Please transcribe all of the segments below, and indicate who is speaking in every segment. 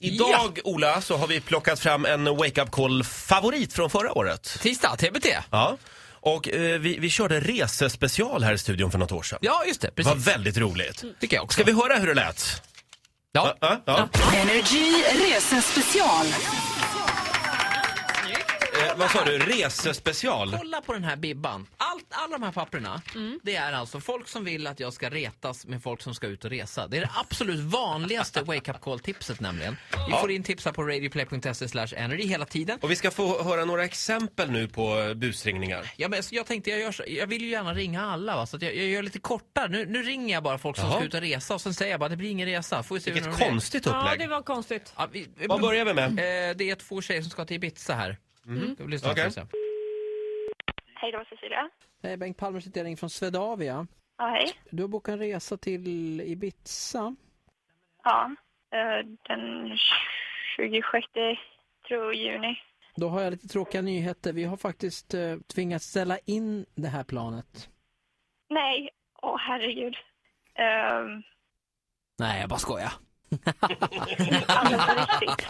Speaker 1: Idag, Ola, så har vi plockat fram en Wake Up Call-favorit från förra året.
Speaker 2: Tisdag, TBT.
Speaker 1: Ja. Och eh, vi, vi körde resespecial här i studion för något år sedan.
Speaker 2: Ja, just det.
Speaker 1: Det var
Speaker 2: Precis.
Speaker 1: väldigt roligt.
Speaker 2: Tycker jag också.
Speaker 1: Ska vi höra hur det lät?
Speaker 2: Ja.
Speaker 1: Ja, ja.
Speaker 3: Energy resespecial.
Speaker 1: Eh, vad sa du? Resespecial?
Speaker 2: Kolla på den här bibban. Allt, alla de här papperna, det är alltså folk som vill att jag ska retas med folk som ska ut och resa. Det är det absolut vanligaste wake up call-tipset nämligen. Vi får in tips här på radioplay.se slash energy hela tiden.
Speaker 1: Och vi ska få höra några exempel nu på eh, busringningar.
Speaker 2: Ja, men så jag tänkte, jag, gör så, jag vill ju gärna ringa alla va? så att jag, jag gör lite kortare. Nu, nu ringer jag bara folk som
Speaker 1: Jaha.
Speaker 2: ska ut och resa och sen säger jag bara det blir ingen resa. Får vi se hur
Speaker 1: Vilket
Speaker 2: de reagerar.
Speaker 1: konstigt
Speaker 4: Ja,
Speaker 1: upplägg.
Speaker 4: det var konstigt.
Speaker 2: Ja, vi,
Speaker 1: Vad börjar vi med? Mm.
Speaker 2: eh, det är två tjejer som ska till Ibiza här. Ska vi lyssna
Speaker 1: Okej.
Speaker 2: till sen?
Speaker 5: Hej, det var Cecilia.
Speaker 2: Hej, Bengt Palmer sitter jag från Swedavia.
Speaker 5: Ja, hej.
Speaker 2: Du har bokat en resa till Ibiza.
Speaker 5: Ja, eh, den 26 tror juni.
Speaker 2: Då har jag lite tråkiga nyheter. Vi har faktiskt eh, tvingats ställa in det här planet.
Speaker 5: Nej, åh herregud. Um,
Speaker 2: Nej, jag bara skojar.
Speaker 5: alltså på riktigt.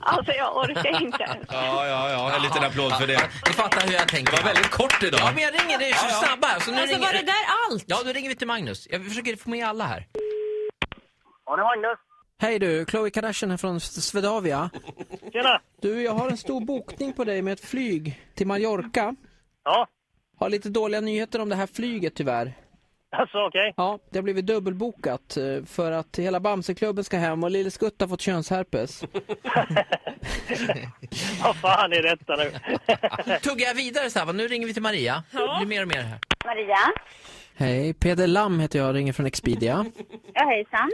Speaker 5: Alltså jag orkar inte ens.
Speaker 1: Ja, ja, ja. En liten applåd för det.
Speaker 2: Du fattar hur jag tänker.
Speaker 1: Det var väldigt kort
Speaker 2: Ja,
Speaker 1: idag.
Speaker 2: men jag ringer. Det är så snabba här. Så nu
Speaker 4: Alltså
Speaker 2: ringer...
Speaker 4: var det där allt?
Speaker 2: Ja, då ringer vi till Magnus. Jag försöker få med alla här.
Speaker 6: Ja, det är Magnus.
Speaker 2: Hej du, Chloe Kardashian här från Swedavia.
Speaker 6: Tjena!
Speaker 2: Du, jag har en stor bokning på dig med ett flyg till Mallorca.
Speaker 6: Ja,
Speaker 2: Har lite dåliga nyheter om det här flyget tyvärr.
Speaker 6: alltså okej.
Speaker 2: Ja, det har blivit dubbelbokat eh, för att hela Bamseklubben ska hem och Lille Skutt har fått könsherpes.
Speaker 6: Vad fan är detta nu?
Speaker 2: Tuggar jag vidare så här, va? nu ringer vi till Maria. Det blir mer och mer här.
Speaker 5: Maria.
Speaker 2: Hej, Peder Lam heter jag ringer från Expedia.
Speaker 5: Ja, hejsan.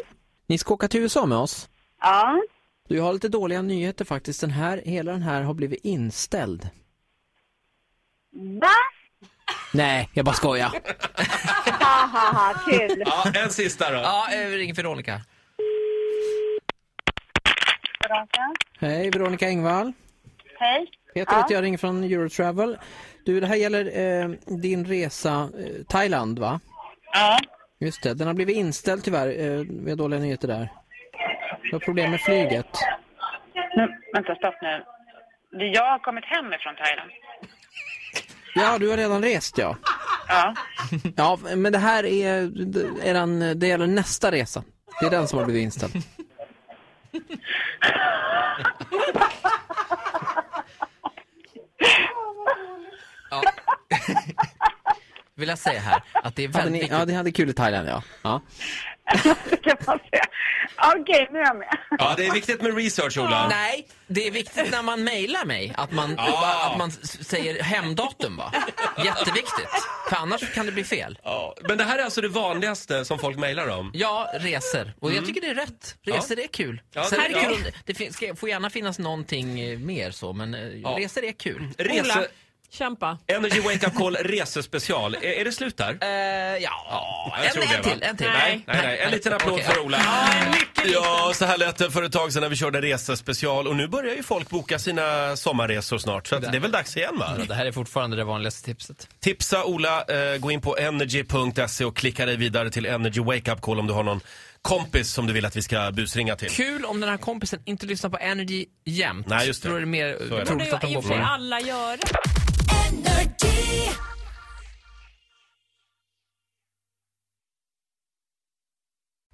Speaker 2: Ni ska åka till USA med oss.
Speaker 5: Ja,
Speaker 2: Du, jag har lite dåliga nyheter faktiskt. Den här, hela den här har blivit inställd.
Speaker 5: va?
Speaker 2: Nej, jag bara skojar.
Speaker 5: Ha, ha, ha, kul.
Speaker 1: Ja, en sista då.
Speaker 2: Ja, eh, vi ringer Veronica. Hej, Veronica Engvall.
Speaker 5: Hej.
Speaker 2: Peter heter jag, ringer från Eurotravel. Du, det här gäller eh, din resa eh, Thailand, va?
Speaker 5: Ja.
Speaker 2: Just det, den har blivit inställd tyvärr. Eh, vi har dåliga nyheter där. Du har problem med flyget.
Speaker 7: Men, vänta, stopp nu. Jag har kommit hem ifrån Thailand.
Speaker 2: Ja, du har redan rest ja.
Speaker 7: Ja.
Speaker 2: Ja, men det här är, det- eran, det gäller nästa resa. Det är den som har blivit inställd.
Speaker 8: vill jag säga här att det är
Speaker 2: Hade
Speaker 8: väldigt
Speaker 2: ni,
Speaker 8: viktigt.
Speaker 2: ja, ni hade kul i Thailand ja. ja.
Speaker 5: Det kan man säga. Okej, nu är jag med.
Speaker 1: Ja, det är viktigt med research, Ola.
Speaker 8: Nej, det är viktigt när man mejlar mig att man,
Speaker 1: Ja.
Speaker 8: att man s- säger hemdatum va? Jätteviktigt. För annars kan det bli fel.
Speaker 1: Ja. Men det här är alltså det vanligaste som folk mejlar om.
Speaker 8: Ja, resor. Och jag tycker det är rätt. Resor är kul.
Speaker 1: Ja,
Speaker 8: Sen är det,
Speaker 1: ja.
Speaker 8: kul. om- det fin- ska, får gärna finnas någonting eh, mer så, men eh, resor är kul.
Speaker 1: Rese...
Speaker 4: Kämpa.
Speaker 1: Energy Wake Up Call resespecial. Är, är det slut där?
Speaker 8: Eh, ja,
Speaker 1: jag
Speaker 8: en,
Speaker 1: tror det,
Speaker 8: en
Speaker 1: va?
Speaker 8: till. En till.
Speaker 1: Nej, nej, nej. En liten applåd
Speaker 8: Okej,
Speaker 1: för Ola. Ja, så här lät det för ett tag sedan när vi körde resespecial. Och nu börjar ju folk boka sina sommarresor snart. Så att det är väl dags igen va?
Speaker 8: Mm.
Speaker 2: Det här är fortfarande det vanligaste tipset.
Speaker 1: Tipsa Ola, eh, gå in på energy.se och klicka dig vidare till Energy Wake Up Call om du har någon kompis som du vill att vi ska busringa till.
Speaker 8: Kul om den här kompisen inte lyssnar på Energy jämt.
Speaker 1: Nej, just det.
Speaker 8: Då är det mer eh,
Speaker 1: Så är det.
Speaker 4: Det
Speaker 8: troligt att
Speaker 4: får
Speaker 8: de
Speaker 4: i
Speaker 8: går
Speaker 4: och för
Speaker 8: på
Speaker 4: sig
Speaker 8: den.
Speaker 4: alla göra.